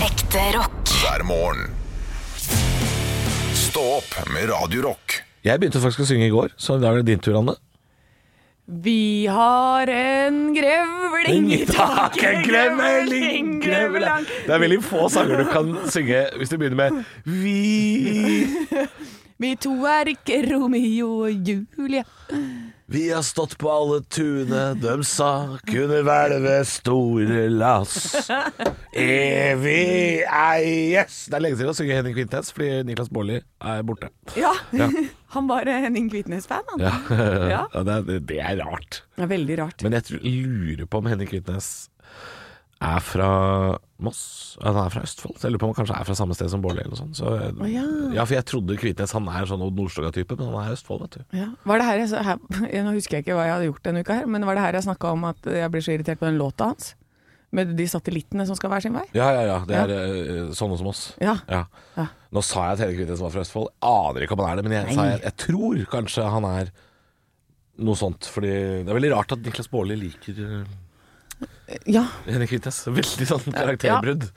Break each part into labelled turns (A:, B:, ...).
A: Ekte rock.
B: hver morgen. Stå opp med Radio Rock.
C: Jeg begynte faktisk å synge i går, så i dag er det din tur, Anne.
D: Vi har en grevling i taket, grevling, grevling.
C: Det er veldig få sanger du kan synge hvis du begynner med Vi
D: Vi to er ikke Romeo og Julie.
C: Vi har stått på alle tune, dem sa kunne hvelve store lass. Evig eies. Det er lenge siden å synge Henning Quintess, fordi Niklas Baarli er borte.
D: Ja,
C: Ja.
D: han var Henning Kvitnes-fan, han.
C: Ja,
D: Ja.
C: det, er, det er rart.
D: Det er veldig rart.
C: Men jeg tror- lurer på om Henning Kvitnes er fra Moss. Han er fra Østfold. Så jeg lurer på om han kanskje er fra samme sted som Bårdli eller noe sånt. Så, eh,
D: ja.
C: for jeg trodde Kvitnes han er sånn Odd Nordstoga-type, men han er Østfold, vet du.
D: Ja. Var det her, jeg så- her Nå husker jeg ikke hva jeg hadde gjort denne uka her, men var det her jeg snakka om at jeg ble så irritert på den låta hans? Med de satellittene som skal hver sin vei?
C: Ja, ja, ja. Det er eh, sånne som oss.
D: Ja. Ja.
C: Nå sa jeg at Henning Kvitnes var fra Østfold. Aner ikke om han er det, men jeg, sa jeg, jeg tror kanskje han er noe sånt. Fordi det er veldig rart at Niklas Baarli liker eh,
D: Ja.
C: Henning Kvitnes. Veldig sånn karakterbrudd.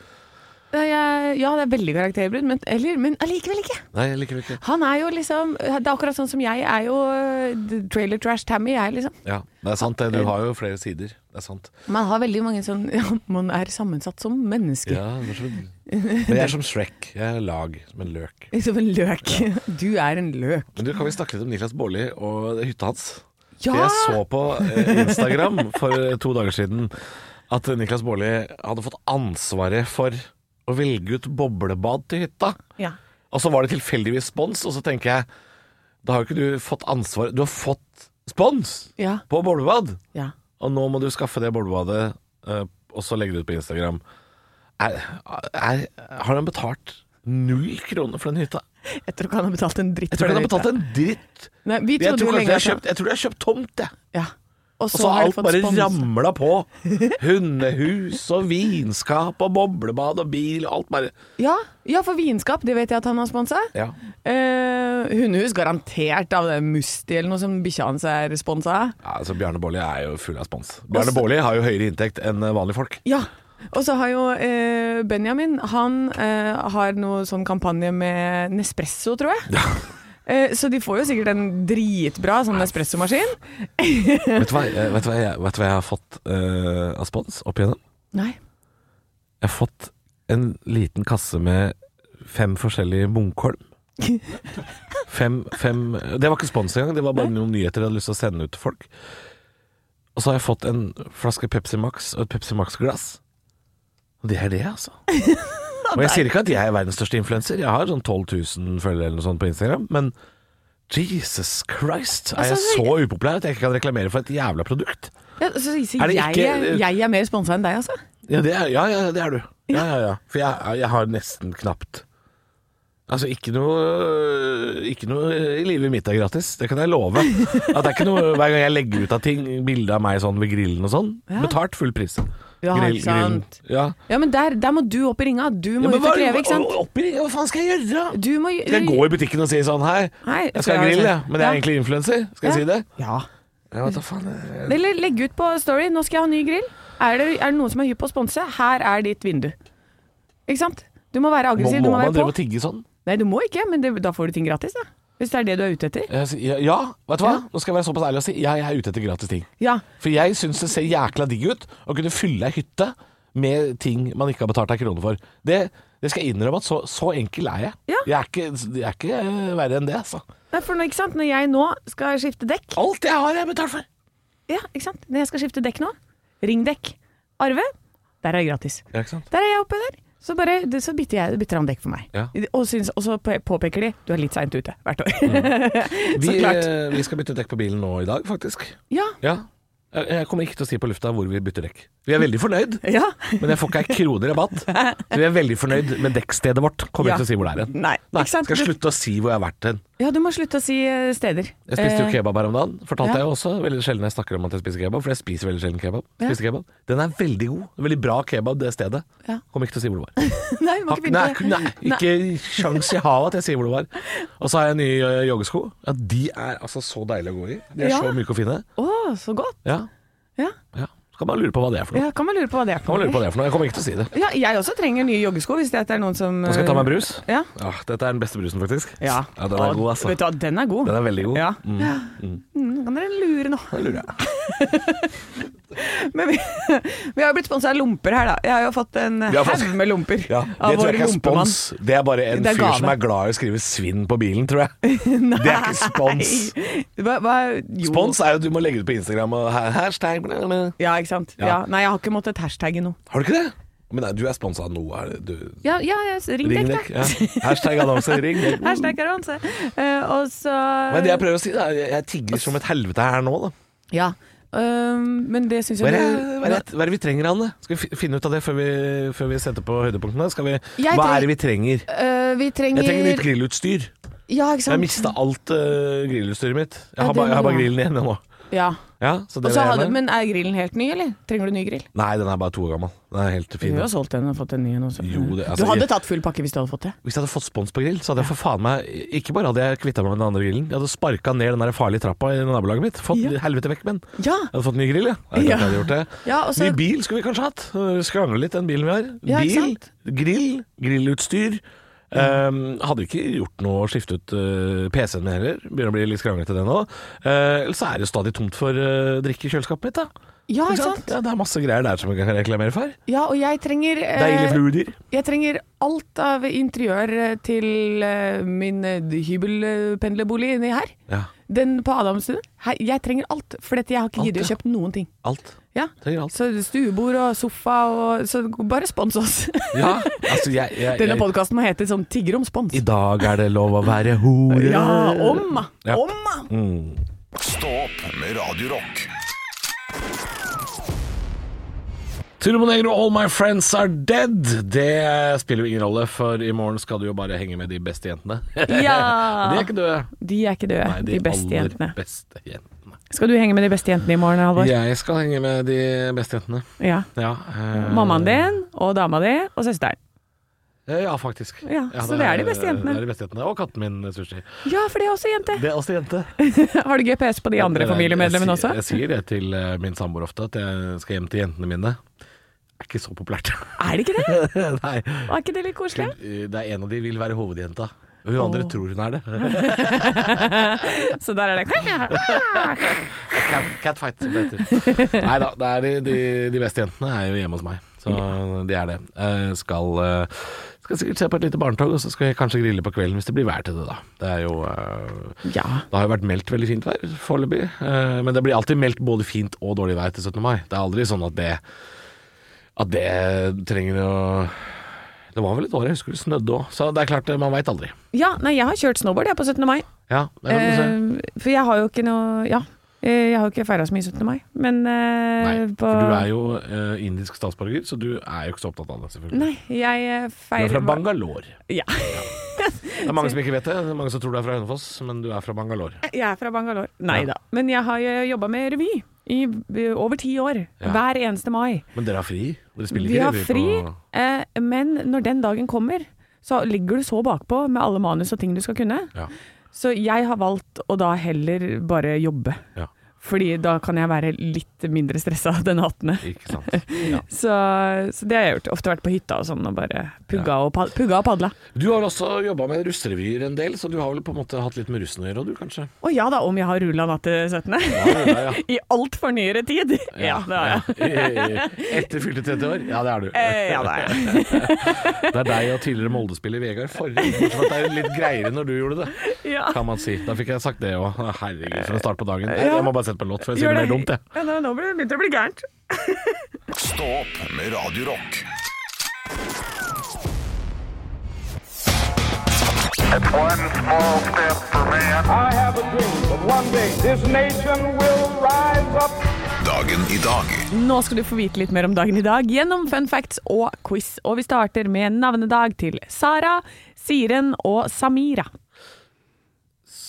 D: Det er, ja, det er veldig karakterbrudd, men, eller, men allikevel ikke.
C: Nei, jeg liker det ikke.
D: Han er jo liksom Det er akkurat sånn som jeg er jo eh, trailer trash Tammy, jeg, liksom.
C: Ja, det er sant det.
D: Eh.
C: Du har jo flere sider. Det er sant.
D: Man har veldig mange sånn ja, Man er sammensatt som menneske.
C: Ja, det er som en... Men jeg er som Shrek. Jeg er lag, som en løk.
D: Som en løk. Du er en løk.
C: Men du, kan vi snakke litt om Niklas Baarli og hytta hans?
D: Ja!
C: For Jeg så på eh, Instagram for eh, to dager siden at Niklas Baarli hadde fått ansvaret for å velge ut boblebad til hytta.
D: Ja.
C: Og så var det tilfeldigvis spons, og så tenker jeg Da har jo ikke du fått ansvar Du har fått spons
D: Ja.
C: på boblebad!
D: ja.
C: Og nå må du skaffe det boblebadet, eh, og så legge det ut på Instagram. Er, er, har han betalt null kroner for den hytta?
D: Jeg tror ikke han har betalt en dritt.
C: Jeg tror ikke han har
D: for det.
C: betalt en dritt.
D: Nei, vi
C: Jeg
D: trodde
C: tror kanskje
D: jo
C: de
D: lenge
C: har kjøpt, jeg tror de har kjøpt tomt, jeg.
D: Ja. Og
C: Og så har
D: de
C: alt
D: fått
C: bare
D: spons.
C: ramla på. Hundehus og vinskap og boblebad og bil og alt bare
D: Ja. ja, for vinskap, det vet jeg at han har sponsa.
C: Ja.
D: Eh, hundehus, garantert av det Musti eller noe som bikkja hans er sponsa av.
C: Ja, altså Bjarne Baarli er jo full av spons. Bjarne Baarli har jo høyere inntekt enn vanlige folk.
D: Ja. Og så har jo eh, Benjamin Han eh, har noe sånn kampanje med Nespresso, tror jeg. Eh, så de får jo sikkert en dritbra sånn Nespresso-maskin.
C: vet, du hva, jeg- vet, du hva jeg, vet du hva jeg har fått eh, av spons opp igjennom?
D: Nei.
C: Jeg har fått en liten kasse med fem forskjellige Munkholm. Fem, fem Det var ikke spons engang, det var bare noen nyheter jeg hadde lyst til å sende ut til folk. Og så har jeg fått en flaske Pepsi Max og et Pepsi Max-glass. Og det er det, altså. Og jeg sier ikke at jeg er verdens største influenser, jeg har sånn 12 000 følgere eller noe sånt på Instagram, men Jesus Christ, er jeg
D: Altså,
C: så upopulær at jeg ikke kan reklamere for et jævla produkt?
D: Ja, så sier
C: Er det
D: jeg,
C: ikke- eh,
D: jeg er mer sponsa enn deg, altså.
C: Ja, det er, ja, ja, det er du. Ja, ja, ja. For jeg, jeg har nesten knapt Altså, ikke noe, ikke noe i livet mitt er gratis. Det kan jeg love. At det er ikke noe Hver gang jeg legger ut av ting, bilde av meg sånn ved grillen og sånn,
D: Ja.
C: betalt full pris.
D: Ja,
C: Grill-
D: ikke sant.
C: grillen. Ja.
D: Ja, men der, der må du opp i ringa. Du må
C: Ja, men
D: ut og kreve, ikke sant?
C: hva- oppi- hva faen skal jeg gjøre?
D: Du må
C: Skal jeg gå i butikken og si sånn Hei,
D: Nei,
C: jeg skal ha grill, jeg, men jeg er
D: Ja.
C: egentlig influenser. Skal jeg
D: Ja.
C: si det?
D: Ja.
C: Ja, hva faen eh, jeg-
D: Eller legg ut på Story 'Nå skal jeg ha ny grill'. Er det, er det noen som er hypp på å sponse? Her er ditt vindu. Ikke sant? Du må være
C: Må,
D: aggressiv,
C: må
D: du må
C: man
D: være
C: drive
D: på.
C: og tigge sånn?
D: Nei, du må ikke, men det, da får du ting gratis, da. Hvis det er det du er ute etter.
C: Jeg sier, Ja, ja, vet du hva?
D: Ja.
C: Nå skal jeg være såpass ærlig og si ja, jeg er ute etter gratis ting.
D: Ja.
C: For jeg syns det ser jækla digg ut å kunne fylle ei hytte med ting man ikke har betalt ei krone for. Det, det skal jeg innrømme at så, så enkel er jeg.
D: Ja.
C: Jeg, er ikke, jeg er ikke eh, verre enn det, altså.
D: Nei, for nå, ikke sant? Når jeg nå skal skifte dekk
C: Alt jeg har, er betalt for.
D: Ja, ikke sant? Når jeg skal skifte dekk nå, ringdekk. Arve, der er det gratis.
C: Ja, ikke sant?
D: Der er jeg oppe der. Så, bare, det- så bytter, jeg, bytter han dekk for meg.
C: Ja.
D: Og, syns, og så pe- påpeker de du er litt seint ute hvert år.
C: Mm. Vi,
D: klart.
C: eh, vi skal bytte dekk på bilen nå i dag, faktisk.
D: ja.
C: Ja. Jeg jeg kommer ikke til å si på lufta hvor vi bytter dekk. Vi er veldig fornøyd,
D: ja.
C: men jeg får ikke ei krone rabatt. Så vi er veldig fornøyd med dekkstedet vårt. Kommer
D: Ja.
C: ikke til å si hvor det er hen.
D: Nei,
C: Nei,
D: ikke sant?
C: skal jeg slutte å si hvor jeg har vært hen.
D: Ja, du må slutte å si eh, steder.
C: Jeg spiste jo
D: Eh,
C: kebab her om dagen. Fortalte
D: ja.
C: jeg jo også. Veldig sjelden jeg snakker om at jeg spiser kebab, for jeg spiser veldig sjelden kebab.
D: Ja.
C: Spiste kebab. Den er veldig god. Veldig bra kebab, det stedet.
D: Ja.
C: Kommer ikke til å si hvor det var.
D: Nei, vi må ikke
C: nei,
D: begynne på det.
C: nei, ikke sjans i havet at jeg sier hvor det var. Og så har jeg nye ø, joggesko. Ja, de er altså så deilige å gå i. De er
D: Ja.
C: så myke og fine.
D: Å, så godt.
C: Ja.
D: Ja.
C: ja. Skal Kan man lure på hva det er for noe.
D: Ja, kan man lure på hva det er
C: Kan
D: for
C: man lure på hva
D: noe.
C: det er for noe. Jeg kommer ikke til å si det.
D: Ja, jeg også trenger nye joggesko, hvis det er noen som
C: Nå skal jeg ta meg en brus.
D: Ja.
C: Ja, dette er den beste brusen, faktisk.
D: Eh. Ja.
C: Ja, den er
D: Og
C: god, altså.
D: Vet du hva, den er god.
C: Den er veldig god.
D: Ja. Mm, kan dere lure nå? Men vi, vi har jo blitt sponsa av lomper her, da. Jeg har jo fått en
C: Vi har fått-
D: haug med lomper
C: Ja,
D: av
C: det tror
D: vår
C: jeg ikke er
D: lompemann.
C: spons. Det er bare en
D: Det er
C: fyr
D: gave.
C: som er glad i å skrive 'svinn' på bilen, tror jeg. Det er ikke spons.
D: Nei. Hva, hva, jo.
C: Spons er jo at du må legge det ut på Instagram og ha- hashtag bla, bla, bla.
D: Ja, ikke sant.
C: Ja.
D: Ja. Nei, jeg har ikke måttet hashtagge noe.
C: Har du ikke det? Men nei, du er sponsa av noe. Er det- du,
D: Ja, ja, jeg- ring
C: ring
D: dekk,
C: deg.
D: da.
C: Ja. Hashtag annonse, ring dek.
D: Hashtag Aronse. Eh, og så
C: Men det jeg prøver å si, da, jeg jeg tigger som et helvete her nå, da.
D: Ja. Øhm, men det syns
C: Hva
D: jeg
C: er det, hva er det, hva er det vi trenger, Anne? Skal vi fi- finne ut av det før vi, før vi setter på høydepunktene? Skal vi,
D: Jeg
C: hva er det vi trenger?
D: Øh, vi trenger
C: Jeg trenger nytt grillutstyr.
D: Ja, ikke sant.
C: Jeg mista alt uh, grillutstyret mitt. Jeg
D: sånn- Ja,
C: har
D: det
C: bare jeg har bare
D: må du ha.
C: grillen igjen jeg nå.
D: Ja.
C: Ja, så det
D: Og så
C: var jeg
D: har du,
C: med.
D: men er grillen helt ny, eller? Trenger du ny grill?
C: Nei, den er bare to år gammel. Den er helt
D: Du
C: fin.
D: har solgt den og fått en ny en også.
C: Jo, det- altså,
D: du hadde
C: jeg-
D: tatt full pakke hvis du hadde fått det.
C: Hvis jeg hadde fått spons på grill, så hadde jeg for faen meg Ikke bare hadde jeg kvitta meg med den andre grillen, jeg hadde sparka ned den der farlige trappa i nabolaget mitt. Fått
D: Ja.
C: helvete vekk med den.
D: Ja.
C: Jeg hadde fått ny grill, ja. Jeg
D: Ja.
C: ja. hadde gjort det.
D: Ja, og så-
C: Ny bil skulle vi kanskje hatt. Øh, Skrangle litt den bilen vi har.
D: Ja, ikke
C: bil,
D: sant? Mm.
C: grill, grillutstyr. Ehm, hadde ikke gjort noe å skifte ut øh, PC-en min heller. Begynner å bli litt skranglete det nå. Eh, Ellers er det jo stadig tomt for øh, drikke i kjøleskapet mitt, da.
D: Ja,
C: Ikke sant? Ja, det er masse greier der som vi kan reklamere for.
D: Ja, og jeg trenger eh,
C: Deilige fluer.
D: Jeg trenger alt av interiør eh, til eh, min eh, hybelpendlerbolig inni her.
C: Ja,
D: Den på Adamstuen. Her- Jeg trenger alt, for dette, jeg har ikke
C: Alt,
D: giddet å
C: ja.
D: kjøpe noen ting.
C: alt.
D: Ja.
C: Trenger alt.
D: Så stuebord og sofa og Så bare spons oss.
C: Ja, altså jeg, jeg,
D: Denne
C: jeg
D: podkasten må hete sånn Tigger om spons.
C: I dag er det lov å være hore. Mm.
D: Ja, omma!
C: Ja.
D: Omma!
B: Stå opp med Radio Rock.
C: Turbo Negro, All My Friends Are Dead. Det spiller jo ingen rolle, for i morgen skal du jo bare henge med de beste jentene.
D: Ja.
C: De er ikke døde.
D: De er ikke døde,
C: Nei,
D: de, beste
C: aller
D: jentene.
C: beste jentene.
D: Skal du henge med de beste jentene i morgen, Halvor?
C: Jeg skal henge med de beste jentene.
D: Ja.
C: Ja. eh,
D: Mammaen din og dama di og søsteren.
C: Eh, Ja, faktisk.
D: Ja, så det er de beste jentene.
C: Det er de beste jentene. Og katten min, Sushi.
D: Ja, for det er også jente.
C: Det er også jente.
D: Har du GPS på de andre
C: Jeg- jeg-
D: familiemedlemmene
C: jeg sier-
D: også?
C: Jeg sier det til eh, min samboer ofte, at jeg skal hjem til jentene mine. Det er ikke så populært.
D: Er det ikke det?
C: Nei.
D: Er ikke det litt koselig?
C: Eh, Det er en av de vil være hovedjenta. Og hun andre tror hun er det.
D: Så der er det
C: Cat- Catfight, som det heter. Nei da, det er de, de, de beste jentene er jo hjemme hos meg. Så de er det. Eh, Skal, eh, skal sikkert se på et lite barnetog, og så skal jeg kanskje grille på kvelden hvis det blir vær til det, da. Det er jo eh,
D: Ja.
C: Det har jo vært meldt veldig fint vær foreløpig, eh, men det blir alltid meldt både fint og dårlig vær til 17. mai. Det er aldri sånn at det at det trenger å Det var vel et år jeg husker det snødde òg, så det er klart, eh, man veit aldri.
D: ja. Nei, jeg har kjørt snowboard jeg på 17. mai.
C: Ja, det kan du se.
D: Eh, for jeg har jo ikke noe Ja. Eh, Jeg har jo ikke feira så mye 17. mai, men eh,
C: Nei,
D: på
C: for du er jo eh, indisk statsborger, så du er jo ikke så opptatt av det, selvfølgelig.
D: Nei, jeg eh,
C: Du
D: feirer
C: er fra Bangalore.
D: Ja.
C: Det er mange som ikke vet det. det er Mange som tror du er fra Hønefoss, men du er fra Bangalore.
D: Jeg er fra Bangalore. Nei
C: Ja.
D: da. Men jeg har jobba med revy i eh, over ti år.
C: Ja.
D: Hver eneste mai.
C: Men dere har fri? Dere spiller
D: Vi
C: ikke
D: har
C: revy
D: fri,
C: på
D: eh, men når den dagen kommer, så ligger du så bakpå med alle manus og ting du skal kunne.
C: Ja.
D: Så jeg har valgt å da heller bare jobbe.
C: Ja.
D: Fordi da kan jeg være litt mindre stressa den 18.
C: Ikke sant. Ja.
D: Så, så det har jeg gjort. Ofte vært på hytta og sånn og bare pugga, og, pad pugga og padla.
C: Du har også jobba med russerevyer en del, så du har vel på en måte hatt litt med russen å gjøre, du kanskje?
D: Å ja da, om jeg har rulla natt til 17.
C: Ja, ja, ja.
D: I altfor nyere tid! Ja, det har jeg.
C: Ja. Etter fylte 30 år? Ja, det er du.
D: Eh, Ja, det har jeg.
C: Det er deg og tidligere Molde-spiller Vegard Forre. bortsett fra at Det er litt greiere når du gjorde det,
D: Ja.
C: kan man si. Da fikk jeg sagt det òg. Herregud, for en start på dagen.
D: Ja.
C: Jeg må bare sette på en låt før jeg sier noe mer dumt, jeg.
D: Ja, nå, nå blir- begynte det å bli gærent.
B: Stå opp med Radio Rock.
A: It's one small step for man.
E: I have a dream that one day this nation will rise up.
B: Dagen i dag.
D: Nå skal du få vite litt mer om dagen i dag gjennom fun facts og quiz. Og vi starter med navnedag til Sara, Siren og Samira.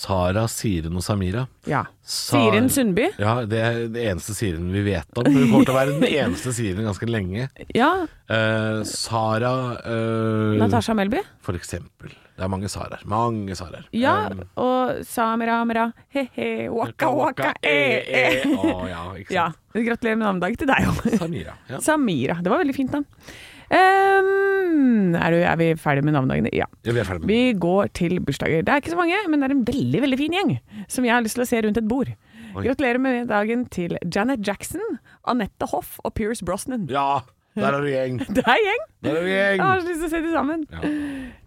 C: Sara, Siren og Samira.
D: Ja.
C: Sa-
D: Siren Sundby.
C: Ja, det er det eneste Siren vi vet om. Hun kommer til å være den eneste Siren ganske lenge.
D: Ja.
C: Eh, Sara eh,
D: Natasha Melby.
C: For eksempel. Det er mange Saraer. Mange Saraer.
D: Ja.
C: Eh,
D: Og Samira Amra. He-he, waka waka,
C: e,
D: e-e.
C: eh, Å, ja, ikke
D: Ja.
C: sant.
D: Gratulerer med navnedag til deg òg.
C: Samira. Ja.
D: Samira. Det var veldig fint navn. Ehm, er, du, er vi ferdige med navnedagene? Ja.
C: Ja, Vi er ferdig med
D: Vi går til bursdager. Det er ikke så mange, men det er en veldig veldig fin gjeng som jeg har lyst til å se rundt et bord.
C: Oi.
D: Gratulerer med dagen til Janet Jackson, Anette Hoff og Pierce Brosnan.
C: Ja, der er vi gjeng.
D: Det er gjeng!
C: Der er vi
D: Jeg
C: gjeng.
D: har så lyst til å se de sammen.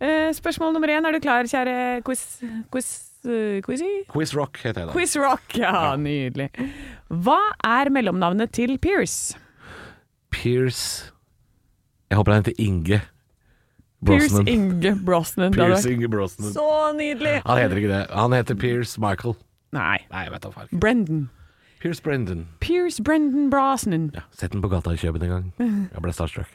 D: Eh, spørsmål nummer én. Er du klar, kjære quiz... quiz... eh, quizy?
C: Quiz Rock heter jeg da.
D: Quiz Rock! Ja, nydelig. Hva er mellomnavnet til Pierce?
C: Pierce Jeg håper han heter Inge
D: Pierce
C: Brosnan.
D: Inge Brosnan. Det hadde
C: Pierce
D: vært
C: Inge Brosnan.
D: Så nydelig!
C: Han heter ikke det. Han heter Pierce Michael.
D: Nei.
C: Nei, jeg vet da faen.
D: Brendan.
C: Pierce Brendan.
D: Pierce Brendan Brosnan.
C: Ja, Sett den på gata i Kjøben en gang. Jeg ble starstruck.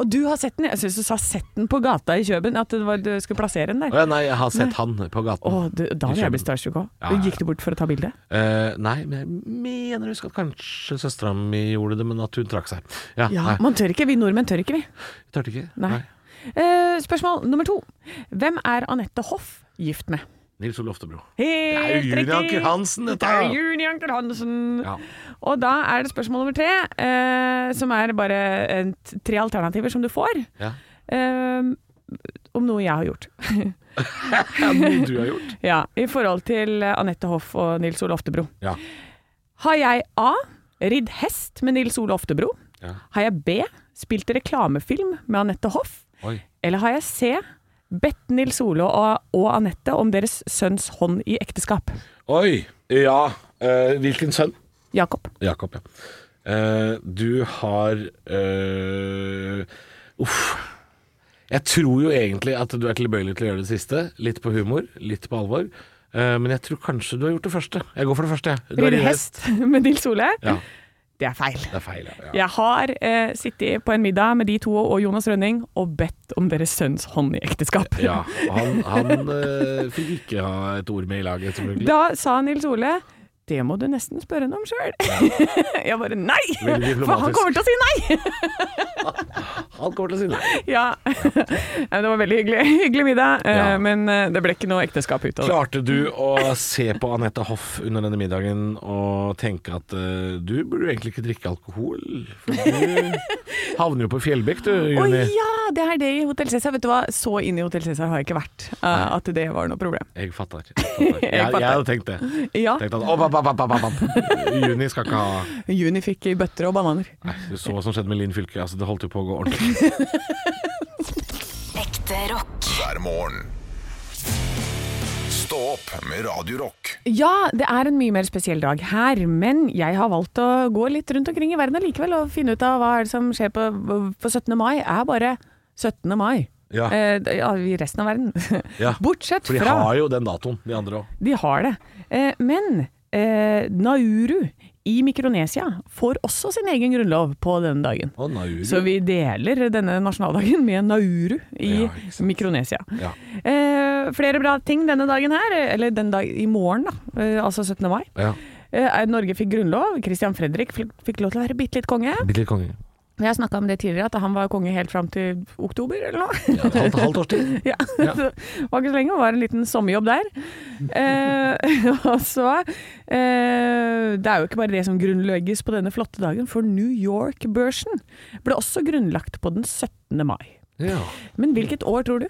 D: Og du har sett den? Jeg syns du sa 'sett den på gata i Kjøben', at det var, du skulle plassere den der.
C: Å ja, nei, jeg har sett han på
D: Å,
C: gaten.
D: du, da hadde jeg blitt starstruck òg.
C: Ja, ja, ja.
D: Gikk du bort for å ta bilde?
C: Eh, nei, men jeg mener jeg husker at kanskje søstera mi gjorde det, men at hun trakk seg. Ja,
D: Ja,
C: nei,
D: man tør ikke. Vi nordmenn tør ikke, vi.
C: jeg tørte ikke.
D: Nei. Eh, spørsmål nummer to. Hvem er Anette Hoff gift med?
C: Nils Ole Oftebro. Det er
D: Helt
C: jo Juni Anker Hansen,
D: Det
C: dette!
D: er Juni Anker Hansen.
C: Ja.
D: Og da er det spørsmål nummer tre, eh, som er bare en, t- tre alternativer som du får.
C: Ja.
D: Eh, om noe jeg har gjort.
C: Ja, noe du har gjort.
D: ja, I forhold til eh, Anette Hoff og Nils Ole Oftebro.
C: Ja.
D: Har jeg A. Ridd hest med Nils Ole Oftebro?
C: Ja.
D: Har jeg B. Spilt reklamefilm med Anette Hoff?
C: Oi.
D: Eller har jeg C. Bedt Nils Ole og, og Anette om deres sønns hånd i ekteskap?
C: Oi. Ja. eh, hvilken sønn?
D: Jakob.
C: Jakob, ja. Eh, du har eh, Uff. Jeg tror jo egentlig at du er tilbøyelig til å gjøre det siste. Litt på humor, litt på alvor. Eh, men jeg tror kanskje du har gjort det første. Jeg går for det første. jeg. Du har
D: Ridd
C: ridd
D: hest med Nils Ole?
C: Ja,
D: Det er feil.
C: det er feil. Ja. Ja.
D: Jeg har eh, sittet på en middag med de to og Jonas Rønning og bedt om deres sønns hånd i ekteskap.
C: Ja, han, han eh, fikk ikke ha et ord med i laget, selvfølgelig.
D: Da sa Nils Ole det må du nesten spørre henne om sjøl. Jeg bare nei!
C: Veldig
D: For han
C: diplomatisk.
D: kommer til å si nei!
C: Han kommer til å si nei.
D: Ja. Nei, Det var veldig hyggelig, hyggelig middag, eh,
C: Ja.
D: men eh, det ble ikke noe ekteskap ut av det.
C: Klarte du å se på Anette Hoff under denne middagen og tenke at eh, du burde jo egentlig ikke drikke alkohol? For du havner jo på Fjellbekk, du,
D: Å
C: Juni.
D: ja, det er det i Hotell Cæsar. Vet du hva, så inne i Hotell Cæsar har jeg ikke vært eh, at det var noe problem.
C: Jeg fatter. Jeg, fatter. jeg, jeg
D: fatter.
C: hadde tenkt det.
D: Ja,
C: Tenkt at, opp, opp, opp, opp, opp, opp. Juni skal ikke ha
D: Juni fikk bøtter og bananer.
C: Nei, Du så hva som skjedde med Linn Fylke. Altså, det holdt jo på å gå ordentlig.
F: Ekte rock.
B: hver morgen. Stå opp med Radio Rock.
D: Ja, det er en mye mer spesiell dag her, men jeg har valgt å gå litt rundt omkring i verden allikevel og finne ut av hva er det som skjer på, på 17. mai. er bare 17. mai.
C: Ja.
D: Eh, d- ja, I resten av verden.
C: Ja.
D: Bortsett
C: For de
D: fra
C: har jo den datoen, de andre òg.
D: De har det. Eh, men eh, Nauru i Mikronesia får også sin egen grunnlov på denne dagen.
C: Å, Nauru.
D: Så vi deler denne nasjonaldagen med Nauru i
C: Ja, ikke sant.
D: Mikronesia.
C: Ja.
D: Eh, flere bra ting denne dagen her, eh, eller den dag i morgen, da, eh, altså 17. mai.
C: Ja.
D: Eh, Norge fikk grunnlov. Christian Fredrik fl- fikk lov til å være bitte litt konge.
C: Bitte litt konge.
D: Jeg har snakka om det tidligere, at han var konge helt fram til oktober eller noe.
C: Ja, et halvt, halvt års tid.
D: Ja, det var ikke så lenge, det var en liten sommerjobb der. Eh, og så eh, Det er jo ikke bare det som grunnlegges på denne flotte dagen, for New York-børsen ble også grunnlagt på den 17. mai.
C: Ja.
D: Men hvilket år tror du?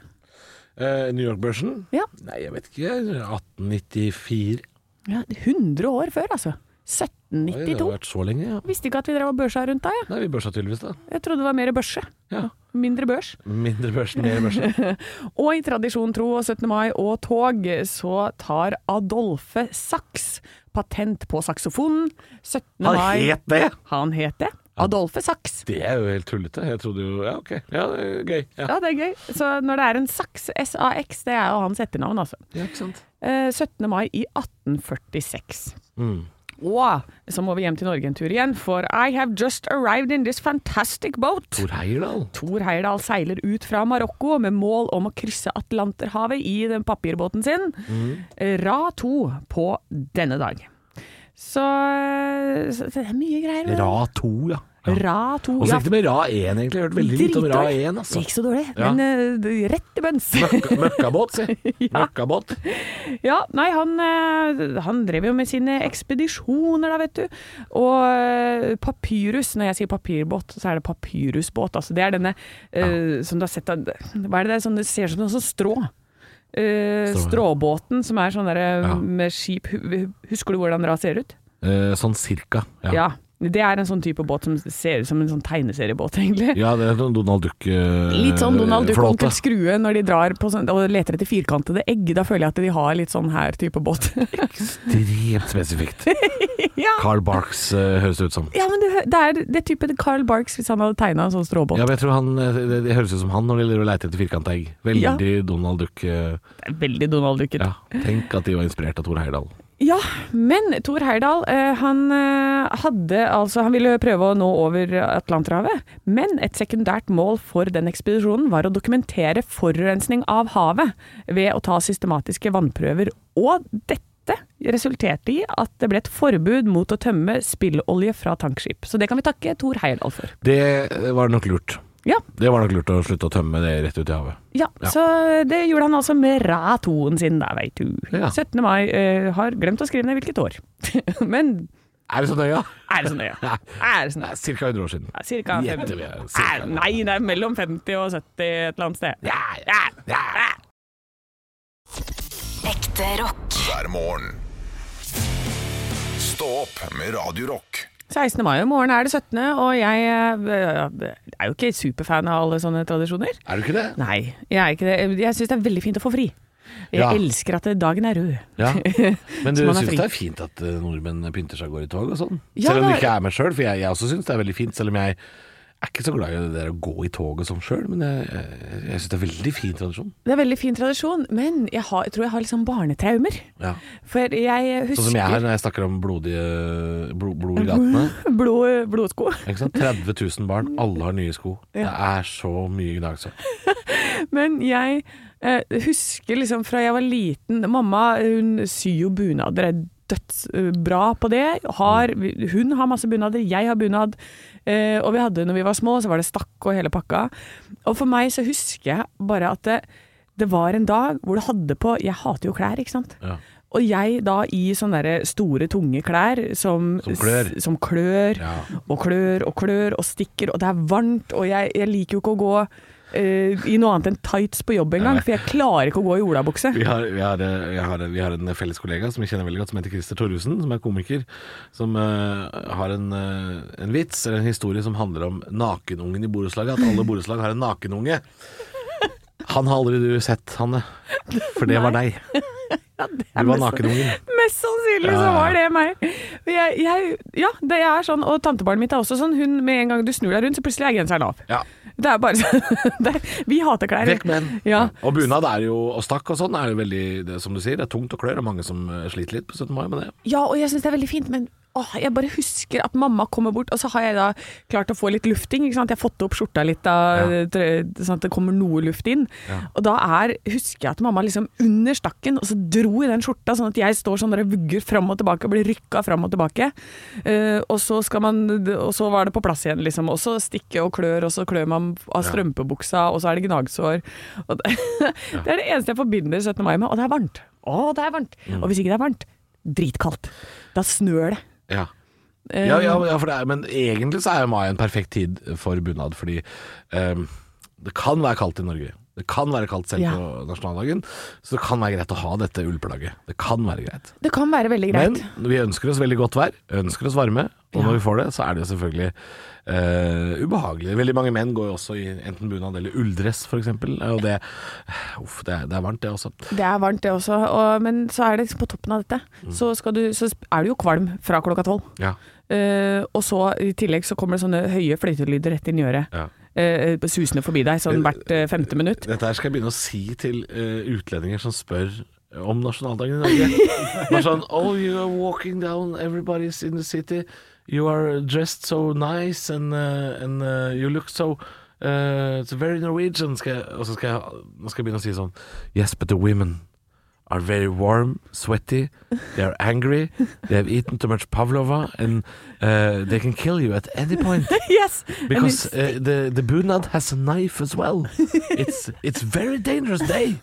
C: Eh, New York-børsen?
D: Ja.
C: Nei, jeg vet ikke. 1894?
D: Ja, 100 år før, altså.
C: Oi, det har
D: 1792.
C: vært så lenge, ja.
D: Visste ikke at vi drev og børsa rundt da, jeg.
C: Nei, vi børsa tydeligvis, da.
D: Jeg trodde det var mer børse.
C: Ja.
D: Mindre børs.
C: Mindre børsen, mer børsen.
D: Og i tradisjon tro og 17. mai og tog, så tar Adolfe Sachs patent på saksofonen 17.
C: Han
D: mai.
C: het det!
D: Han het det. Adolfe Sachs.
C: Det er jo helt tullete. Jeg trodde jo Ja, ok. Ja, det er gøy. Ja.
D: Ja, det er gøy. Så når det er en Sachs, S-A-X, det er jo hans etternavn, altså.
C: ja, ikke sant. Mm.
D: Eh, 17. mai i 1846. Wow. Så må vi hjem til Norge en tur igjen, for I have just arrived in this fantastic boat.
C: Tor Heyerdahl.
D: Tor Heyerdahl seiler ut fra Marokko med mål om å krysse Atlanterhavet i den papirbåten sin,
C: Mm.
D: Ra 2, på denne dag. Så, så det er mye greier. med det.
C: Ra 2, ja. ja.
D: Ra 2.
C: Og så gikk det med Ra 1, egentlig. Jeg har hørt veldig lite om Ra
D: dritdårlig.
C: 1.
D: Det
C: Altså.
D: gikk så dårlig,
C: Ja.
D: men eh, det- rett i bønns.
C: Møkka- Møkkabåt, si.
D: Ja.
C: Møkkabåt.
D: Ja, nei, han, eh, han drev jo med sine ekspedisjoner da, vet du. Og eh, papyrus, når jeg sier papirbåt, så er det papyrusbåt. Altså, det er denne eh, som du har sett av Hva er det det er? Sånn, det ser ut som noe sånn strå.
C: Strå,
D: Eh,
C: ja.
D: Stråbåten som er sånn der eh,
C: Ja.
D: med skip Hu- Husker du hvordan Ra ser ut?
C: Eh, sånn cirka.
D: Ja.
C: Ja.
D: Det er en sånn type båt som ser ut som en sånn tegneseriebåt, egentlig.
C: ja, det er sånn Donald Duck-flåte.
D: Litt sånn Donald Duck og Onkel Skrue når de drar på sånn, og leter etter firkantede egg. Da føler jeg at de har litt sånn her type båt.
C: Ekstremt spesifikt.
D: ja.
C: Carl Barks eh, høres det ut som.
D: Ja, men det, det er det type Carl Barks hvis han hadde tegna en sånn stråbåt.
C: Ja, men jeg tror han, eh, det, det høres ut som han når de driver og leter etter firkanta egg. Veldig
D: Ja.
C: Donald Duck. eh,
D: Det er Veldig Donald Duck.
C: Ja. Tenk at de var inspirert av Tor Heyerdahl.
D: Ja, men Thor Heyerdahl, eh, han eh, hadde altså Han ville prøve å nå over Atlanterhavet, men et sekundært mål for den ekspedisjonen var å dokumentere forurensning av havet ved å ta systematiske vannprøver, og dette resulterte i at det ble et forbud mot å tømme spillolje fra tankskip. Så det kan vi takke Thor Heyerdahl for.
C: Det eh, var nok lurt.
D: Ja,
C: Det var nok lurt å slutte å tømme det rett ut i havet.
D: Ja,
C: Ja.
D: så det gjorde han altså med Ra-toen sin, da, veit du.
C: Ja.
D: 17. mai eh, har glemt å skrive ned hvilket år. Men
C: Er det så nøye?
D: er det så nøye? Er det
C: Nei,
D: så nøye?
C: Cirka 100 år siden.
D: Ja, Cirka
C: Gjette
D: fem-
C: vi er cirka-
D: Er- Nei, det er mellom 50 og 70 et eller annet sted.
C: Ja, ja, ja.
F: Ekte rock.
B: hver morgen. Stå opp med Radio Rock.
D: 16. mai i morgen er det 17., og jeg eh, er jo ikke superfan av alle sånne tradisjoner.
C: Er du ikke det?
D: Nei, jeg er ikke det. Jeg syns det er veldig fint å få fri. Jeg
C: Ja.
D: elsker at dagen er rød.
C: Ja. Men du
D: Så man er
C: syns
D: fri.
C: det er fint at eh, nordmenn pynter seg og går i tog og sånn?
D: Ja,
C: selv om du
D: det-
C: ikke er med sjøl, for jeg, jeg også syns det er veldig fint. Selv om jeg er ikke så glad i det der å gå i tog og sånn sjøl, men jeg, jeg, jeg syns det er veldig fin tradisjon.
D: Det er veldig fin tradisjon, men jeg, har, jeg tror jeg har liksom barnetraumer.
C: Ja.
D: For jeg husker
C: Sånn som jeg her når jeg snakker om blodige blod, blod i gatene.
D: Blod, blodsko.
C: Ikke sant? 30 000 barn, alle har nye sko. Det er så mye gnagsår.
D: Men jeg eh, husker liksom fra jeg var liten Mamma hun syr jo bunader, er dødsbra på det. Har, hun har masse bunader, jeg har bunad. Eh, og vi hadde når vi var små, så var det stakk og hele pakka. Og for meg så husker jeg bare at det, det var en dag hvor du hadde på Jeg hater jo klær, ikke sant.
C: Ja.
D: Og jeg da i sånne der store, tunge klær som,
C: Som klør.
D: s- Som klør
C: Ja.
D: og klør og klør og stikker, og det er varmt, og jeg, jeg liker jo ikke å gå eh, i noe annet enn tights på jobb engang, for jeg klarer ikke å gå i olabukse.
C: Vi har, vi, har, eh, jeg har, vi har en felles kollega som jeg kjenner veldig godt, som heter Christer Thorhusen, som er komiker, som eh, har en, eh, en vits, eller en historie, som handler om nakenungen i borettslaget. At alle borettslag har en nakenunge. Han har aldri du sett, Hanne. For det var deg. Du var nakenungen.
D: Mest sannsynlig så
C: Ja.
D: var det meg. Og Jeg, jeg, ja, det er sånn, og tantebarnet mitt er også sånn. Hun, med en gang du snur deg rundt, så plutselig er genseren av.
C: Ja.
D: Det er bare sånn. det er- Vi hater klær.
C: Vekk med den.
D: Ja.
C: Og bunad er jo, og stakk og sånn, er jo veldig, det, som du sier, det er tungt og klør. Det er mange som eh, sliter litt på 17. mai med det.
D: Ja, og jeg syns det er veldig fint, men åh, jeg bare husker at mamma kommer bort, og så har jeg da klart å få litt lufting. Ikke sant? Jeg har fått opp skjorta litt, da, trø- sånn at det kommer noe luft inn. Og da er, husker jeg at mamma liksom under stakken, og så dro i den skjorta, sånn at jeg står sånn der og vugger fram og tilbake og blir rykka fram og tilbake. Eh, og, så skal man, og så var det på plass igjen, liksom. Og så stikke og klør, og så klør man av strømpebuksa, og så er det gnagsår. Og det, det er det eneste jeg forbinder 17. mai med, og det er varmt. Å, det er varmt. Og hvis ikke det er varmt, dritkaldt. Da snør det.
C: Ja.
D: Eh.
C: Ja, ja, ja for det er, men egentlig så er jo mai en perfekt tid for bunad, fordi ehm, det kan være kaldt i Norge. Det kan være kaldt selv
D: Ja.
C: på nasjonaldagen, så det kan være greit å ha dette ullplagget. Det kan være greit.
D: Det kan være veldig
C: Men
D: greit.
C: vi ønsker oss veldig godt vær, ønsker oss varme, og når vi får det, så er det jo selvfølgelig eh, ubehagelig. Veldig mange menn går jo også i enten bunad eller ulldress, f.eks., og det Uff, det er, det er varmt, det også.
D: det er varmt det også, og, men så er det liksom på toppen av dette.
C: Mm.
D: Så, skal du, så er du jo kvalm fra klokka tolv.
C: Ja.
D: Eh, og så i tillegg så kommer det sånne høye fløytelyder rett inn i øret.
C: Ja.
D: Eh, susende forbi deg sånn hvert eh, femte minutt.
C: Dette her skal jeg begynne å si til eh, utlendinger som spør eh, om nasjonaldagen i Norge. Bare sånn Oh, you are walking down, everybody's in the city. You are dressed so nice, and, uh, and uh, you look so uh, It's very Norwegian. Skal jeg, og så skal jeg, nå skal jeg begynne å si sånn Yes, but the women are very warm, sweaty, they are angry, they have eaten too much pavlova, and uh, they can kill you at any point.
D: Yes! and
C: Because
D: it's-
C: uh, the the bunad has a knife as well. It's it's very dangerous day.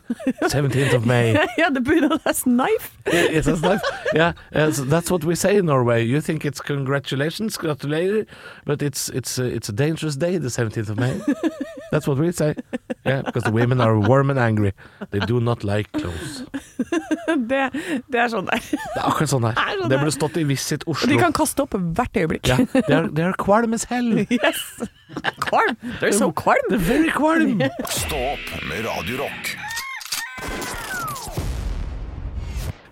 C: Seventeenth of May.
D: yeah, the Buddha has knife.
C: It has knife. Yeah, uh, so that's what we say in Norway. You think it's congratulations, gratulerer, but it's it's uh, it's a dangerous day, the seventeenth of May. That's what we say. Yeah, because the women are warm and angry. They do not like clothes.
D: Det, det er sånn der.
C: Det er akkurat sånn
D: Det er
C: her.
D: sånn
C: Det
D: her.
C: burde stått i Visit
D: Og de
C: Oslo.
D: kan kaste opp hvert øyeblikk.
C: Ja, they are, they are kvalm as hell.
D: Yes! Kvalm! They're so kvalm!
C: They're very kvalm.
B: Stå opp med Radio Rock.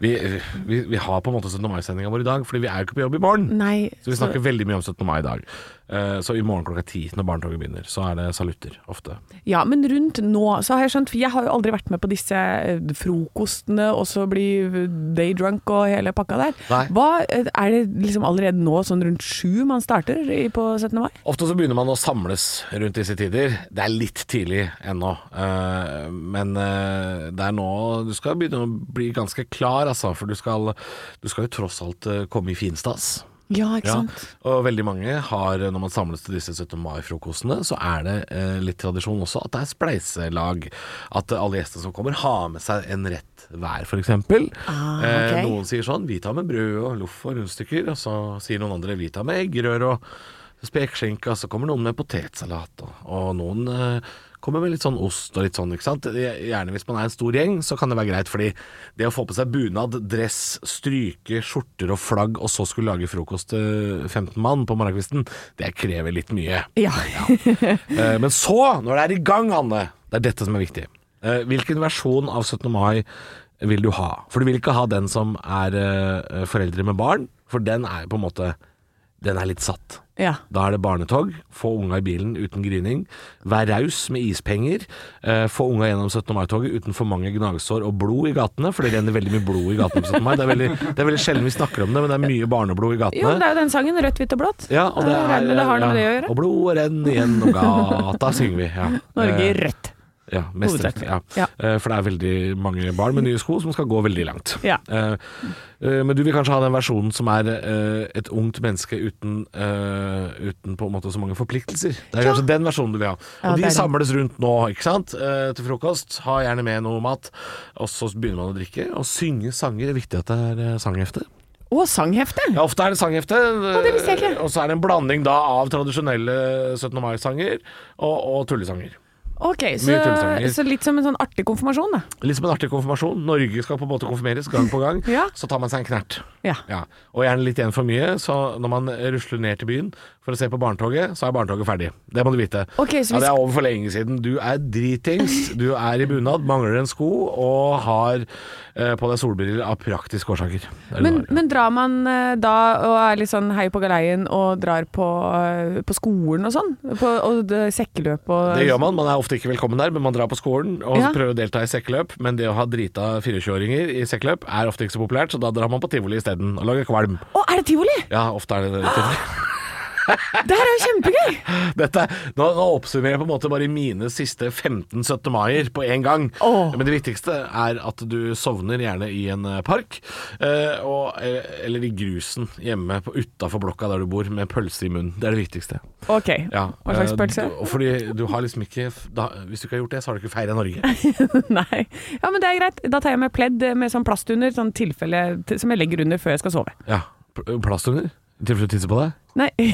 C: Vi, vi, vi har på en måte 17. mai-sendinga vår i dag, fordi vi er jo ikke på jobb i morgen.
D: Nei.
C: Så vi snakker veldig mye om 17. mai i dag. Eh, Så i morgen klokka ti, når barnetoget begynner, så er det salutter ofte.
D: Ja, men rundt nå, så har jeg skjønt, for jeg har jo aldri vært med på disse eh, frokostene, og så blir day drunk og hele pakka der.
C: Nei.
D: Hva, eh, er det liksom allerede nå, sånn rundt sju man starter i- på 17. mai?
C: Ofte så begynner man å samles rundt disse tider. Det er litt tidlig ennå, eh, men eh, det er nå du skal begynne å bli ganske klar, altså. For du skal, du skal jo tross alt eh, komme i finstas.
D: Ja, ikke
C: Ja,
D: sant?
C: og veldig mange har, når man samles til disse 17. mai-frokostene, så er det eh, litt tradisjon også at det er spleiselag. At eh, alle gjestene som kommer har med seg en rett hver, f.eks. eksempel
D: Ah,
C: eh,
D: ok.
C: noen sier sånn, vi tar med brød og loff og rundstykker, og så sier noen andre, vi tar med eggerør og spekeskinke, og så kommer noen med potetsalat, og, og noen eh, kommer med litt sånn ost og litt sånn, ikke sant? Gjerne hvis man er en stor gjeng, så kan det være greit, fordi det å få på seg bunad, dress, stryke, skjorter og flagg, og så skulle lage frokost til 15 mann på morgenkvisten, det krever litt mye.
D: Ja.
C: Eh, Men så, når det er i gang, Anne Det er dette som er viktig Eh, Hvilken versjon av 17. mai vil du ha? For du vil ikke ha den som er eh, foreldre med barn For den er på en måte Den er litt satt
D: ja.
C: da er det barnetog, få unga i bilen uten grining, vær raus med ispenger, eh, få unga gjennom 17. mai-toget uten for mange gnagsår og blod i gatene, for det renner veldig mye blod i gatene på 17. mai. Det er veldig, det er veldig sjelden vi snakker om det, men det er mye barneblod i
D: Jo, men
C: gatene.
D: det er jo den sangen, rødt, hvitt og blått.
C: Ja, og det, eh,
D: Jeg regner med det har noe med det å
C: ja,
D: gjøre.
C: og blodet renner gjennom gata, synger vi. Ja.
D: Norge i
C: Eh,
D: rødt.
C: ja, mest rett,
D: Hovedsakelig. Ja.
C: ja. Eh, For det er veldig mange barn med nye sko som skal gå veldig langt.
D: Ja.
C: Eh, eh, Men du vil kanskje ha den versjonen som er eh, et ungt menneske uten, eh, uten på en måte så mange forpliktelser. Det er
D: Ja.
C: kanskje den versjonen du vil ha.
D: Ja,
C: Og
D: det er
C: de
D: det.
C: samles rundt nå, ikke sant? Eh, Til frokost. Ha gjerne med noe mat. Og så begynner man å drikke. Og synge sanger. Det er viktig at det er eh, sanghefte.
D: Og sanghefte!
C: Ja, ofte er det sanghefte. Eh,
D: det visste jeg ikke.
C: Og så er det en blanding da av tradisjonelle 17. mai-sanger og, og tullesanger.
D: Ok, så,
C: Mye tullsanger.
D: så litt som en sånn artig konfirmasjon, da.
C: Litt som en artig konfirmasjon. Norge skal på en måte konfirmeres gang på gang.
D: Ja.
C: Så tar man seg en knert.
D: Ja.
C: Ja. Og gjerne litt igjen for mye, så når man rusler ned til byen for å se på barnetoget, så er barnetoget ferdig. Det må du vite.
D: Ok, så
C: ja,
D: vi
C: det er over for lenge siden. Du er dritings, du er i bunad, mangler en sko og har eh, på deg solbriller av praktiske årsaker. Det er det
D: Men,
C: du har.
D: men drar man eh, da og er litt sånn hei på galeien og drar på, eh, på skolen og sånn? På, og det- sekkeløp og
C: Det gjør man. Man er ofte ikke velkommen der, men man drar på skolen og
D: Ja.
C: prøver å delta i sekkeløp. Men det å ha drita 24-åringer i sekkeløp er ofte ikke så populært, så da drar man på tivoli isteden og lager kvalm.
D: Å, er det tivoli?!
C: Ja, ofte er det det.
D: Det her er jo kjempegøy!
C: Dette, nå, nå oppsummerer jeg på en måte bare mine siste 15 17. maier på én gang.
D: Åh.
C: Men det viktigste er at du sovner gjerne i en eh, park, eh, og, eh, eller i grusen hjemme utafor blokka der du bor, med pølse i munnen. Det er det viktigste.
D: Ok,
C: Ja,
D: hva slags
C: eh,
D: pølse?
C: du- og fordi du har liksom ikke da, Hvis du ikke har gjort det, så har du ikke feira Norge.
D: Nei. Ja, men det er greit. Da tar jeg med pledd med sånn plast under, sånn tilfelle til- som jeg legger under før jeg skal sove.
C: Ja, pl- Plastunger? I tilfelle du tisser på deg?
D: Nei,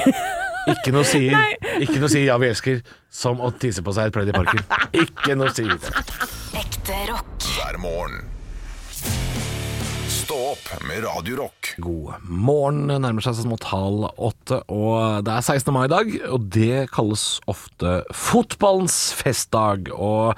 C: Ikke noe sier Ikke noe sier 'ja, vi elsker' som å tisse på seg et pledd i parken. Ikke noe sier det.
F: Ekte rock.
B: hver morgen. Stå opp opp med Radio Rock.
C: God morgen, Det nærmer seg så smått halv åtte, og det er 16. mai i dag. Og det kalles ofte fotballens festdag. Og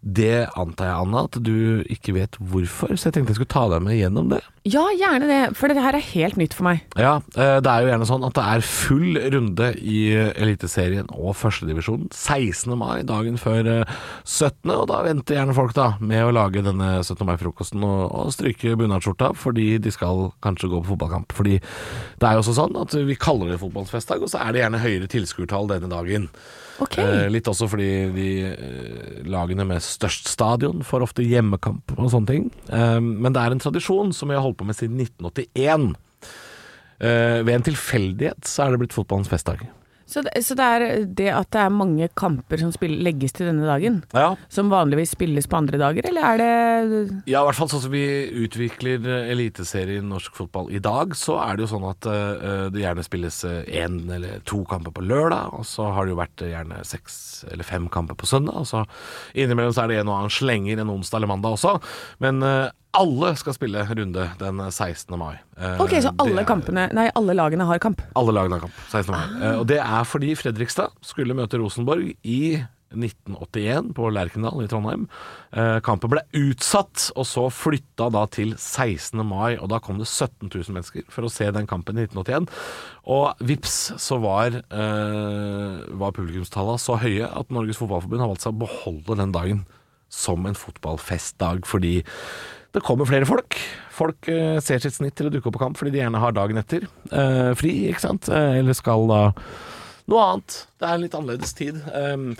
C: det antar jeg, Anna, at du ikke vet hvorfor, så jeg tenkte jeg skulle ta deg med gjennom det.
D: Ja, gjerne det, for det her er helt nytt for meg.
C: Ja, eh, det er jo gjerne sånn at det er full runde i eh, Eliteserien og førstedivisjonen 16. mai, dagen før eh, 17., og da venter gjerne folk da med å lage denne 17. mai-frokosten og, og stryke bunadsskjorta fordi de skal kanskje gå på fotballkamp. Fordi det er jo også sånn at vi kaller det fotballfestdag, og så er det gjerne høyere tilskuertall denne dagen.
D: Ok.
C: Eh, litt også fordi de eh, lagene med størst stadion får ofte hjemmekamp og sånne ting. Eh, men det er en tradisjon som vi har holdt på med siden 1981. Eh, ved en tilfeldighet så er det blitt fotballens festdag.
D: Så det, så det er det at det er mange kamper som spill, legges til denne dagen,
C: Ja.
D: som vanligvis spilles på andre dager, eller er det
C: i hvert fall sånn som vi utvikler eh, eliteserien norsk fotball i dag, så er det jo sånn at eh, det gjerne spilles én eller to kamper på lørdag, og så har det jo vært eh, gjerne seks eller fem kamper på søndag, og så innimellom så er det en og annen slenger en onsdag eller mandag også, men eh, alle skal spille runde den 16. mai. Eh,
D: Ok, så
C: det
D: alle
C: er-
D: kampene Nei, alle lagene har kamp.
C: alle lagene har kamp 16. mai. Eh, Og det er fordi Fredrikstad skulle møte Rosenborg i 1981 på Lerkendal i Trondheim. Eh, Kampen ble utsatt, og så flytta da til 16. mai. Og da kom det 17 000 mennesker for å se den kampen i 1981. Og vips så var, eh, var publikumstallene så høye at Norges Fotballforbund har valgt seg å beholde den dagen som en fotballfestdag, fordi det kommer flere folk. Folk eh, ser sitt snitt til å dukke opp på kamp fordi de gjerne har dagen etter eh, fri, ikke sant? Eh, eller skal da noe annet. Det er en litt annerledes tid. Um,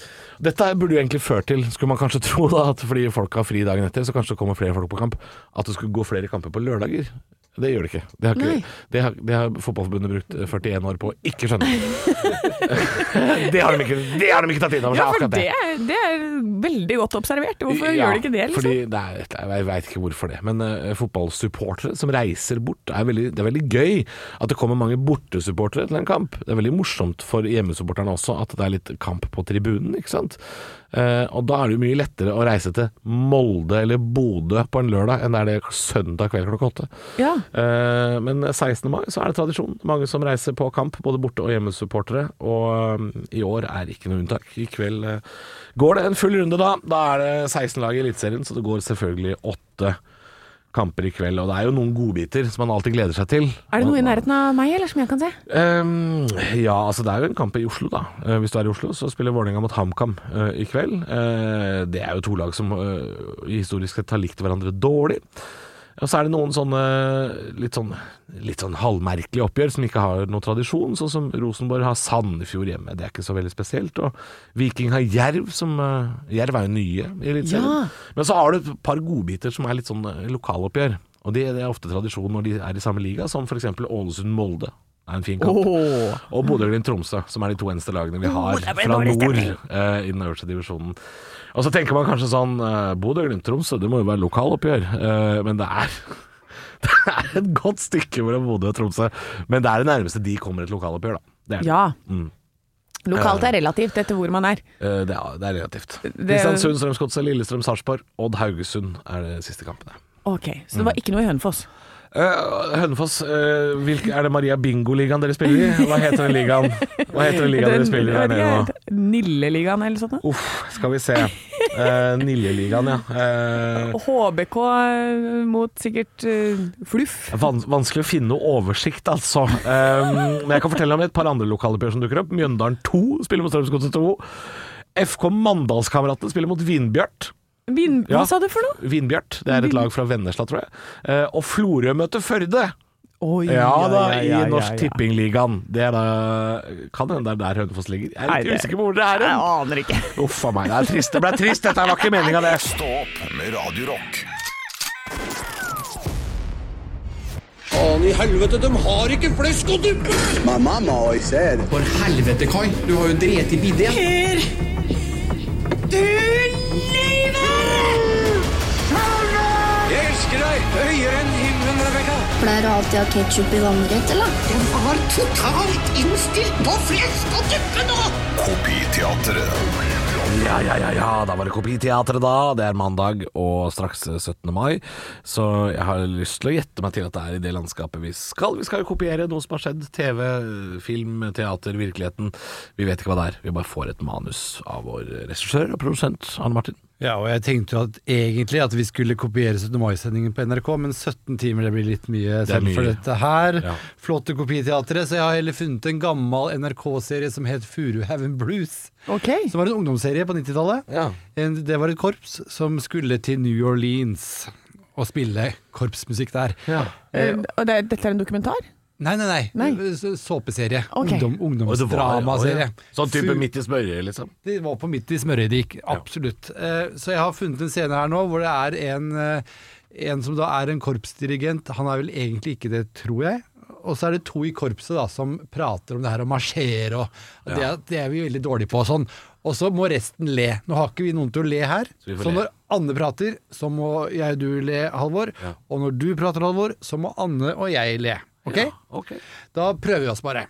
C: dette burde jo egentlig ført til, skulle man kanskje tro, da, at fordi folk har fri dagen etter, så kanskje det kommer flere folk på kamp, at det skulle gå flere kamper på lørdager. Det gjør det ikke. Det har,
D: Nei.
C: ikke, det har, det har Fotballforbundet brukt eh, 41 år på å ikke skjønne. det, har de ikke, det har de ikke tatt inn over seg,
D: Ja, for
C: akkurat
D: det er, det er veldig godt observert. Hvorfor
C: ja,
D: gjør de ikke det, liksom?
C: Fordi det er, et- jeg veit ikke hvorfor det. Men eh, fotballsupportere som reiser bort, er veldig, det er veldig gøy at det kommer mange bortesupportere til en kamp. Det er veldig morsomt for hjemmesupporterne også at det er litt kamp på tribunen, ikke sant. Eh, og da er det jo mye lettere å reise til Molde eller Bodø på en lørdag enn det er det søndag kveld klokka åtte.
D: Ja.
C: Eh, Men 16. mai så er det tradisjon. Mange som reiser på kamp, både borte- og hjemmesupportere. Og um, i år er ikke noe unntak. I kveld eh, går det en full runde, da. Da er det 16 lag i Eliteserien, så det går selvfølgelig åtte kamper i kveld. Og det er jo noen godbiter som man alltid gleder seg til.
D: Er det noe i nærheten av meg, eller som jeg kan se?
C: Ehm, ja, altså det er jo en kamp i Oslo, da. Eh, hvis du er i Oslo, så spiller Vålerenga mot HamKam eh, i kveld. Eh, det er jo to lag som eh, historisk sett har likt hverandre dårlig. Og så er det noen sånne litt sånn, litt sånn halvmerkelige oppgjør som ikke har noen tradisjon, sånn som Rosenborg har Sandefjord hjemme. Det er ikke så veldig spesielt. Og Viking har Jerv, som eh, Jerv er jo nye i Eliteserien.
D: Ja.
C: Men så har du et par godbiter som er litt sånn eh, lokaloppgjør. Og det, det er ofte tradisjon når de er i samme liga, som f.eks. Ålesund-Molde. Det er en fin kamp. Og Bodø-Glimt-Tromsø, som er de to eneste lagene vi har
D: det ble
C: fra
D: dårlig
C: nord
D: stemning.
C: eh, i den øverste divisjonen. Og så tenker man kanskje sånn eh, Bodø-Glimt-Tromsø, det må jo være lokaloppgjør. Eh, men det er Det er et godt stykke mellom Bodø og Tromsø. Men det er det nærmeste de kommer et lokaloppgjør, da. Det er, det.
D: Ja.
C: Mm.
D: Lokalt er relativt etter hvor man er.
C: Eh, det er, det er relativt.
D: er-
C: Kristiansund, Strømsgodset, Lillestrøm, Sarpsborg, Odd Haugesund er de siste kampene.
D: Ok,
C: Mm.
D: Så det var ikke noe i Hønefoss.
C: Eh, Hønefoss, eh, hvilke, er det Maria Bingo-ligaen dere spiller i? Hva heter den ligaen Hva heter den ligaen dere spiller i der nede nå?
D: Nilleligaen eller sånt noe sånt?
C: Uff, skal vi se. Uh, Niljeligaen, ja. Eh,
D: HBK mot sikkert eh, Fluff.
C: vans vanskelig å finne noe oversikt, altså. Eh, men jeg kan fortelle om et par andre lokaloppgjør som dukker opp. Mjøndalen 2 spiller mot Strømsgodset 2. FK Mandalskameratene spiller mot Vindbjart.
D: Vin,
C: Ja.
D: Hva sa du for noe?
C: Vindbjart, Det er et lag fra Vennesla, tror jeg. Eh, og Florø møter Førde.
D: Oi,
C: Ja da,
D: ja,
C: i
D: ja, ja,
C: Norsk
D: ja.
C: Tippingligaen. Det er da Kan hende det er der Hønefoss ligger. Jeg er
D: Nei,
C: litt
D: det-
C: usikker på hvor det er
D: Jeg
C: hen.
D: aner ikke.
C: Uff a meg, det er trist. Det ble trist. Dette var ikke meninga, det.
B: Stå opp med Radio Rock.
F: Faen i helvete, de har ikke flesk og duppe!
G: My mama always said,
F: For helvete, Kai. Du har jo drept i bidé. Jeg elsker deg høyere enn himmelen, Rebekka.
H: Pleier du alltid å ha ketsjup i vannrett, eller?
B: Kopiteatret.
C: Ja, ja, ja, ja, da var det Kopiteatret da. Det er mandag og straks eh, 17. mai. Så jeg har lyst til å gjette meg til at det er i det landskapet vi skal. Vi skal jo kopiere noe som har skjedd. TV, film, teater, virkeligheten. Vi vet ikke hva det er. Vi bare får et manus av vår regissør og produsent, Anne Martin.
G: Ja, og jeg tenkte jo at egentlig at vi skulle kopiere 17. mai-sendingen på NRK, men 17 timer det blir litt mye
C: Det er
G: selv for
C: mye.
G: dette her.
C: Ja.
G: Flotte kopiteatret, så jeg har heller funnet en gammel NRK-serie som het Furuhaugen Blues.
D: Ok.
G: Som var en ungdomsserie på 90-tallet.
C: Ja.
G: En- Det var et korps som skulle til New Orleans og spille korpsmusikk der.
D: Eh, og det, er- dette er en dokumentar?
G: Nei, nei, nei.
D: Nei.
G: S- Såpeserie.
D: Ok.
G: Ungdom,
C: Og det var- å,
G: ungdomsdramaserie.
C: ja. Sånn type
G: Fu-
C: midt i smørøyet, liksom.
G: Det var på midt i smørøyet det gikk, absolutt. Eh, Så jeg har funnet en scene her nå hvor det er en, eh, en som da er en korpsdirigent. Han er vel egentlig ikke det, tror jeg. Og så er det to i korpset da som prater om det her å marsjere og og det, er- det er vi veldig dårlige på og sånn. Og så må resten le. Nå har ikke vi noen til å le her.
C: vi
G: Så,
C: får le.
G: når Anne prater, så må jeg og du le, Halvor. Og når du prater, Halvor, så må Anne og jeg le. Ok?
C: Ok.
G: Da prøver vi oss bare.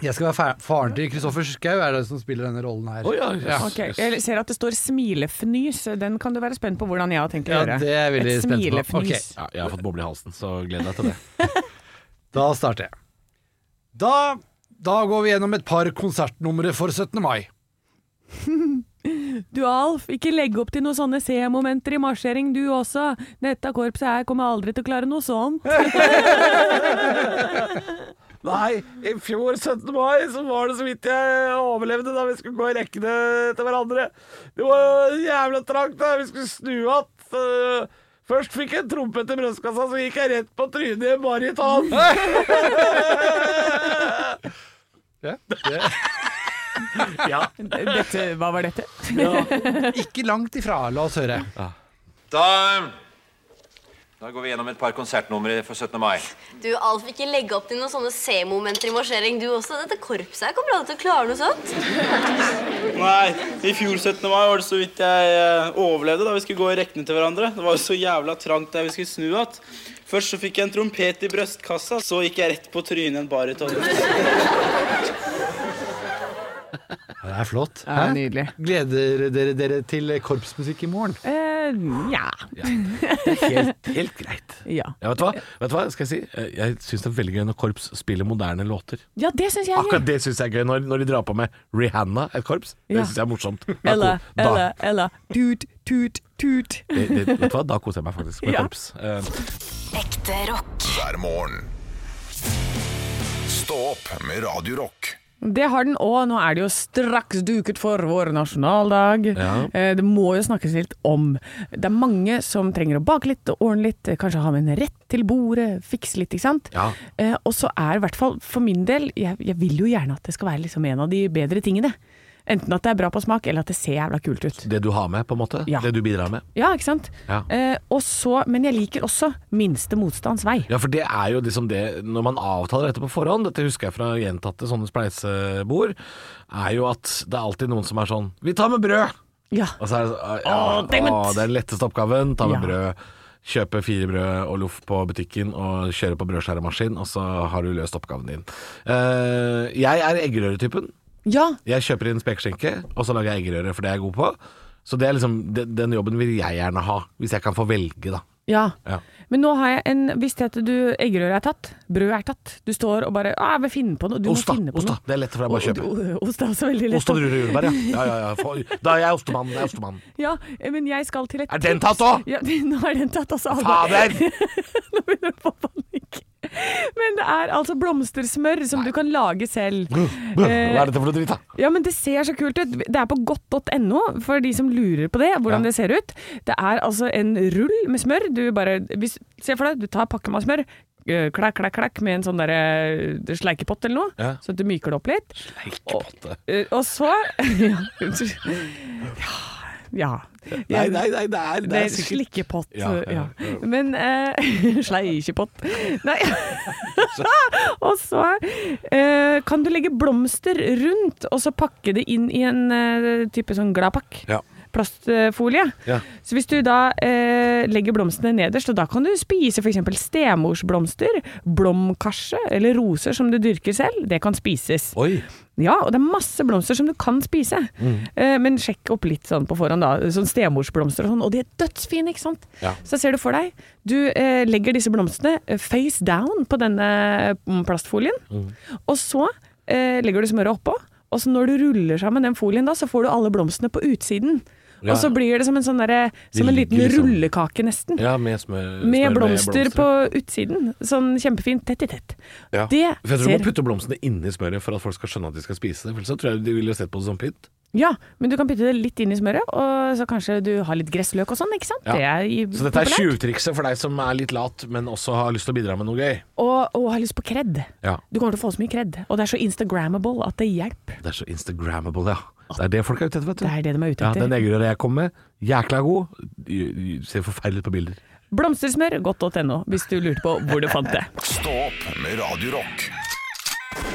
G: Jeg skal være fa- faren til Kristoffer Schau, er det som spiller denne rollen her.
C: Å ja, jøss.
G: ja.
D: Ok, Jeg ser at det står smilefnys. Den kan du være spent på hvordan jeg har tenkt å
G: Ja,
D: gjøre.
G: det er jeg veldig
D: Et
G: spent på.
D: smilefnys.
G: Ok.
C: Ja, jeg har fått boble i halsen, så gled deg til det.
G: Da starter jeg. Da, da går vi gjennom et par konsertnumre for 17. mai.
D: Du Alf, ikke legg opp til noen sånne C-momenter i marsjering du også. Dette korpset her kommer aldri til å klare noe sånt.
C: Nei, i fjor 17. mai så var det så vidt jeg overlevde da vi skulle gå i rekkene til hverandre. Det var jævla trangt da, vi skulle snu att. øh, Først fikk jeg en trompet i brystkassa, så gikk jeg rett på trynet i en bariton.
G: Ja.
C: Ja.
D: Dette, hva var dette?
G: Ikke langt ifra, la oss høre.
I: Da, da går vi gjennom et par konsertnumre for 17. mai.
J: Du, Alf, ikke legge opp til noen sånne C-momenter i marsjering, du også. Dette korpset her kommer aldri til å klare noe sånt.
I: Nei, i fjor 17. mai var det så vidt jeg eh, overlevde da vi skulle gå i rekkene til hverandre. Det var jo så jævla trangt der vi skulle snu att. Først så fikk jeg en trompet i brystkassa, så gikk jeg rett på trynet i en baryton.
G: Ja, det er flott.
D: Ja,
G: Hæ?
D: nydelig.
G: Gleder dere dere til korpsmusikk i morgen?
D: Eh, Nja.
C: Helt, helt greit.
D: ja.
C: Ja, vet du hva? Vet du hva skal jeg si? Eh, Jeg syns det er veldig gøy når korps spiller moderne låter.
D: ja, det syns jeg. er
C: Akkurat
D: gøy.
C: det syns jeg er gøy, når, når de drar på med Rihanna, et korps. Det
D: Ja.
C: syns jeg er morsomt. Da-
D: Eller,
C: da-
D: eller, eller. Tut, tut, tut.
C: det, det, vet du hva? Da koser jeg meg faktisk med
D: Ja.
C: korps. Eh,
J: Ekte rock.
B: hver morgen. Stå opp med Radio Rock.
D: Det har den òg. Nå er det jo straks duket for vår nasjonaldag.
C: Ja.
D: Eh, Det må jo snakkes litt om. Det er mange som trenger å bake litt og ordne litt, eh, kanskje ha med en rett til bordet, fikse litt, ikke sant.
C: Ja.
D: Eh, Og så er i hvert fall for min del, jeg, jeg vil jo gjerne at det skal være liksom en av de bedre tingene. Enten at det er bra på smak, eller at det ser jævla kult ut.
C: det du har med, på en måte.
D: Ja.
C: Det du bidrar med.
D: Ja, ikke sant.
C: Ja.
D: Eh, og så, men jeg liker også minste motstands vei.
C: Ja, for det er jo liksom det Når man avtaler dette på forhånd, dette husker jeg fra gjentatte sånne spleisebord, er jo at det er alltid noen som er sånn Vi tar med brød!
D: Ja.
C: Og så er det sånn ja,
D: Åh, damn it!
C: å, Det er den letteste oppgaven. Ta med
D: Ja.
C: brød. Kjøpe fire brød og loff på butikken og kjøre på brødskjæremaskin, og så har du løst oppgaven din. Eh, jeg er eggerøretypen.
D: ja.
C: Jeg kjøper inn spekeskinke, og så lager jeg eggerøre, for det er jeg god på. Så det er liksom, den, den jobben vil jeg gjerne ha, hvis jeg kan få velge, da.
D: Ja.
C: Ja.
D: Men nå har jeg en Visste jeg at du eggerøre er tatt? Brød er tatt. Du står og bare Å, jeg vil finne på noe. Du
C: Ost,
D: må
C: da.
D: finne på
C: Ost, da.
D: noe.
C: Det er lett for deg å bare kjøpe.
D: Og- og- Ost er også veldig lett.
C: Ost og druer og jordbær, ja. ja, ja, ja. For, da er jeg ostemann. Jeg er ostemann.
D: Ja, men jeg skal til et
C: Er den
D: tips.
C: tatt også?
D: Ja, nå er den tatt også. Alvor.
C: Fader!
D: Nå begynner jeg å få panikk. Men det er altså blomstersmør som du kan lage selv.
C: Hva er dette for noe dritt, da?
D: Ja, men det ser så kult ut. Det er på godt.no, for de som lurer på det, hvordan
C: Ja.
D: det ser ut. Det er altså en rull med smør. Du bare hvis, Se for deg, du tar pakken med smør. øh, Klakk, klakk, klakk med en sånn derre øh, sleikepott eller noe,
C: Ja.
D: så at du myker det opp litt.
C: Sleikepotte.
D: Øh, Og så Ja. unnskyld. Ja.
C: Nei, nei, nei, det er,
D: Det er slikkepott. Ja,
C: Ja, ja, ja.
D: Men eh, Sleikepott. Nei. og så eh, kan du legge blomster rundt, og så pakke det inn i en eh, type sånn gladpakk.
C: Ja.
D: Plastfolie.
C: Ja.
D: Så hvis du da eh, eh, legger blomstene nederst, og da kan du spise f.eks. stemorsblomster, blomkarse eller roser som du dyrker selv. Det kan spises.
C: Oi!
D: Ja, og det er masse blomster som du kan spise.
C: Mm.
D: Eh, men sjekk opp litt sånn på forhånd, da. Sånn stemorsblomster og sånn. Og de er dødsfine, ikke sant?
C: Ja.
D: Så ser du for deg. Du eh, legger disse blomstene eh, face down på denne mm, plastfolien. Og så eh, legger du smøret oppå. Og så når du ruller sammen den folien, da, så får du alle blomstene på utsiden.
C: Ja.
D: Og så blir det som en, sånn derre- som en
C: ligger
D: liten
C: liksom-
D: rullekake, nesten.
C: Ja, med smør
D: Med
C: smør
D: blomster på utsiden. Sånn kjempefint tett i tett.
C: ja.
D: Det
C: For jeg tror du må
D: ser
C: putte blomstene inni smøret for at folk skal skjønne at de skal spise det. For ellers så tror jeg de ville sett på det som pynt.
D: Ja, men du kan putte det litt inn i smøret, og så kanskje du har litt gressløk og sånn, ikke sant?
C: Ja.
D: Det er i-
C: Så dette er
D: populært.
C: tjuvtrikset for deg som er litt lat, men også har lyst til å bidra med noe gøy.
D: Og, og har lyst på kred.
C: Ja.
D: Du kommer til å få så mye kred. Og det er så instagrammable at det hjelper.
C: Det er så Instagrammable, ja. Det er det folk er ute etter, vet du.
D: Det er det de er ute
C: Ja,
D: etter.
C: Den eggerøra jeg kom med, jækla god. Y- y- Ser forferdelig ut på bilder.
D: Blomstersmør, godt.no, hvis du lurte på hvor du fant det.
B: Stå opp med Radio Rock.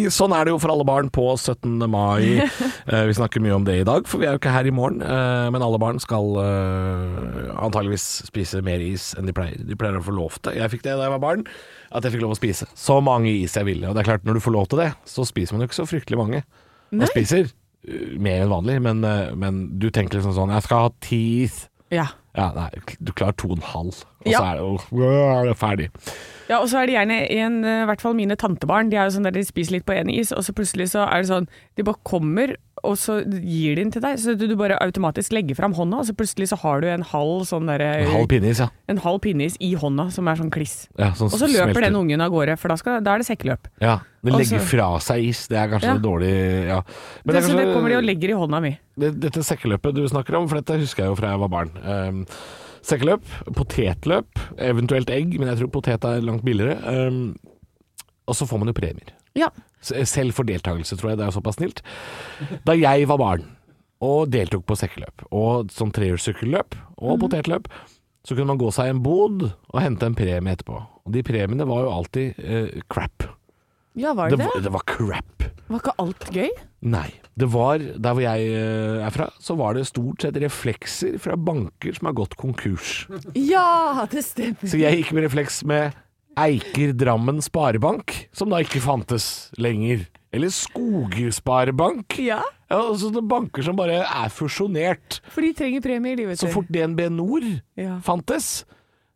C: Sånn er det jo for alle barn på 17. mai. Eh, Vi snakker mye om det i dag, for vi er jo ikke her i morgen. eh, Men alle barn skal eh, antageligvis spise mer is enn de pleier. De pleier å få lov til. Jeg fikk det da jeg var barn, at jeg fikk lov å spise så mange is jeg ville. Og det er klart, når du får lov til det, så spiser man jo ikke så fryktelig mange. Man spiser eh, mer enn vanlig, men, eh, men du tenker liksom sånn Jeg skal ha ti is.
D: Ja.
C: Ja, nei, du klarer to og en halv, og
D: Ja.
C: så er det jo er det ferdig.
D: ja, og så er det gjerne en, eh, i hvert fall mine tantebarn, de er jo sånn der de spiser litt på en is, og så plutselig så er det sånn, de bare kommer, og så gir de den til deg, så du du bare automatisk legger frem hånda, og så plutselig så har du en halv sånn der,
C: En halv pinneis, ja.
D: en halv pinneis i hånda, som er sånn kliss.
C: ja sånn
D: Og så løper
C: smelter.
D: den ungen av gårde, for da, skal, da er det sekkeløp.
C: Ja, Den
D: Og så-
C: legger fra seg is, det er kanskje
D: Ja.
C: dårlig ja. Men
D: Det,
C: det er
D: så det
C: kanskje-
D: kommer de og legger i hånda mi.
C: det, Dette sekkeløpet du snakker om, for dette husker jeg jo fra jeg var barn. Um, sekkeløp, potetløp, eventuelt egg, men jeg tror potet er langt billigere. Um, og så får man jo premier.
D: Ja.
C: S- Selv for deltakelse, tror jeg. Det er såpass snilt. Da jeg var barn og deltok på sekkeløp, og sånn trehjulssykkelløp og
D: Mhm.
C: potetløp, så kunne man gå seg i en bod og hente en premie etterpå. Og de premiene var jo alltid eh, crap.
D: Ja, var det det?
C: var, det var crap.
D: Var ikke alt gøy?
C: Nei. Det var, Der hvor jeg eh, er fra, så var det stort sett reflekser fra banker som har gått konkurs.
D: Ja, det stemmer.
C: Så jeg gikk med refleks med Eiker Drammen Sparebank, som da ikke fantes lenger. Eller Skogsparebank.
D: Ja,
C: Ja, altså det er banker som bare er fusjonert.
D: for de trenger premie i livet
C: Så fort DNB Nord
D: Ja.
C: fantes,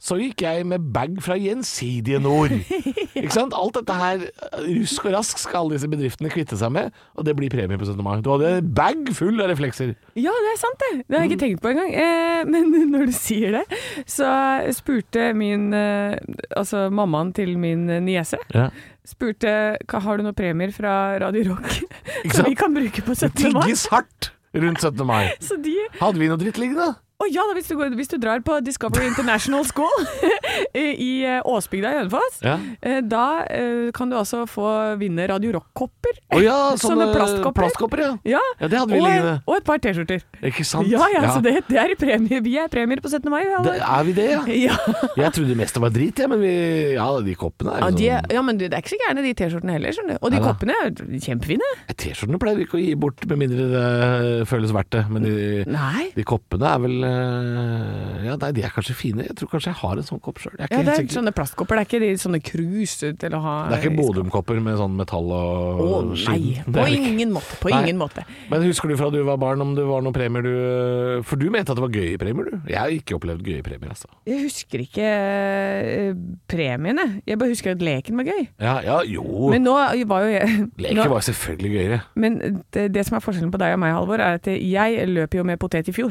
C: så gikk jeg med bag fra Gjensidige Nord. Ikke sant? Alt dette her, eh, rusk og rask, skal alle disse bedriftene kvitte seg med, og det blir premie på 17. mai. Du hadde en bag full av reflekser.
D: Ja, det er sant det. Det har jeg ikke
C: Mm.
D: tenkt på engang. Eh, men når du sier det, så spurte min eh, Altså mammaen til min eh, niese
C: Ja.
D: spurte "Hva, har du noen premier fra Radio Rock som
C: sant?
D: vi kan bruke på 17. mai.
C: Tigges hardt rundt 17. mai.
D: Så de
C: Hadde vi noe dritt liggende?
D: Å ja, da, hvis, du går, hvis du drar på Discovery International School i eh, Åsbygda i Hønefoss,
C: Ja.
D: eh, da eh, kan du altså få vinne Radio Rock-kopper.
C: Å ja, sånne,
D: Sånne plastkopper.
C: plastkopper. Ja.
D: Ja,
C: ja, det hadde vi
D: og,
C: liggende.
D: og et par T-skjorter.
C: Ikke sant?
D: Ja, ja, så det, det er i premie. Vi er premier på 17. mai. vi alle.
C: Det- er vi det, ja?
D: Ja.
C: Jeg trodde mest det var drit, ja, men vi, ja, de koppene er
D: Ja,
C: jo
D: de,
C: sånn-
D: ja, men du, det er ikke så gærne de T-skjortene heller, skjønner du. Og de
C: Neida.
D: koppene er jo kjempefine.
C: sånn- T-skjortene pleier vi ikke å gi bort, med mindre det eh, føles verdt det. Men de,
D: Nei.
C: de koppene er vel eh, Ja, nei, de er kanskje fine. Jeg tror kanskje jeg har en sånn kopp sjøl. Jeg er ikke
D: Ja, det
C: helt
D: er
C: sikker.
D: sånne plastkopper, det er ikke de sånne cruise til å ha
C: Det er ikke Bodum-kopper med sånn metall og
D: Å
C: skinn.
D: nei,
C: Det
D: på
C: er det ikke.
D: ingen måte. På
C: Nei.
D: ingen måte.
C: Men husker du fra du var barn om det var noen premier du For du mente at det var gøye premier, du. Jeg har ikke opplevd gøye premier, altså.
D: Jeg husker ikke eh, premiene, jeg bare husker at leken var gøy.
C: Ja, ja jo.
D: Men nå var jo jeg
C: Leker
D: nå,
C: var selvfølgelig gøyere.
D: Men det, det som er forskjellen på deg og meg, Halvor, er at jeg løp jo med potet i fjor.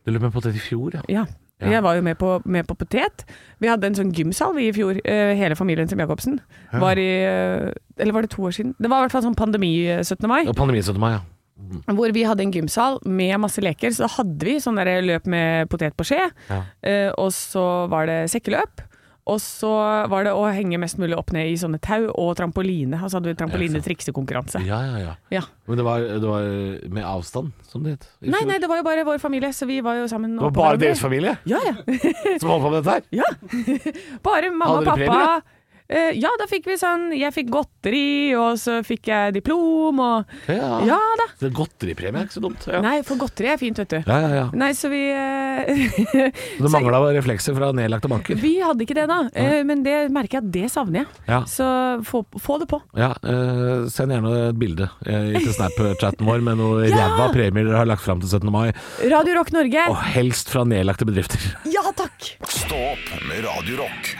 C: Du løp med potet i fjor, ja.
D: Ja.
C: Ja.
D: Jeg var jo med på, med på potet. Vi hadde en sånn gymsal vi i fjor. eh, hele familien til Jacobsen. Var i eh, Eller var det to år siden? Det var i hvert fall sånn pandemi eh, 17. mai.
C: Og pandemien 17. mai, ja.
D: Hvor vi hadde en gymsal med masse leker. Så da hadde vi sånn der løp med potet på skje.
C: Ja.
D: eh, og så var det sekkeløp. Og så var det å henge mest mulig opp ned i sånne tau og trampoline. Og så hadde vi trampolinetriksekonkurranse.
C: Ja, ja, ja.
D: Ja.
C: Men det var, det var eh, med avstand, som det het. i
D: Nei,
C: fjor.
D: nei, det var jo bare vår familie, så vi var jo sammen.
C: det var bare deres familie
D: Ja, ja.
C: som holdt på med dette her?
D: Bare mamma og
C: Hadde dere
D: pappa. Eh, ja, da fikk vi sånn Jeg fikk godteri, og så fikk jeg diplom, og
C: Ah.
G: Ja.
D: Ja da.
G: Det er Godteripremie er ikke så dumt. Ja,
D: Nei, for godteri er fint, vet du.
G: ja, ja. ja.
D: Nei, så vi eh,
G: Det mangla reflekser fra nedlagte banker.
D: Vi hadde ikke det da, eh, men det merker jeg at det savner jeg.
G: Ja.
D: Så få, få det på.
G: Ja, eh, Send gjerne et bilde eh, til Snap-chatten vår med noe
D: Ja!
G: ræva premier dere har lagt fram til 17. mai,
D: Radio Rock Norge.
G: og helst fra nedlagte bedrifter.
D: Ja takk!
B: Stå opp med Radio Rock.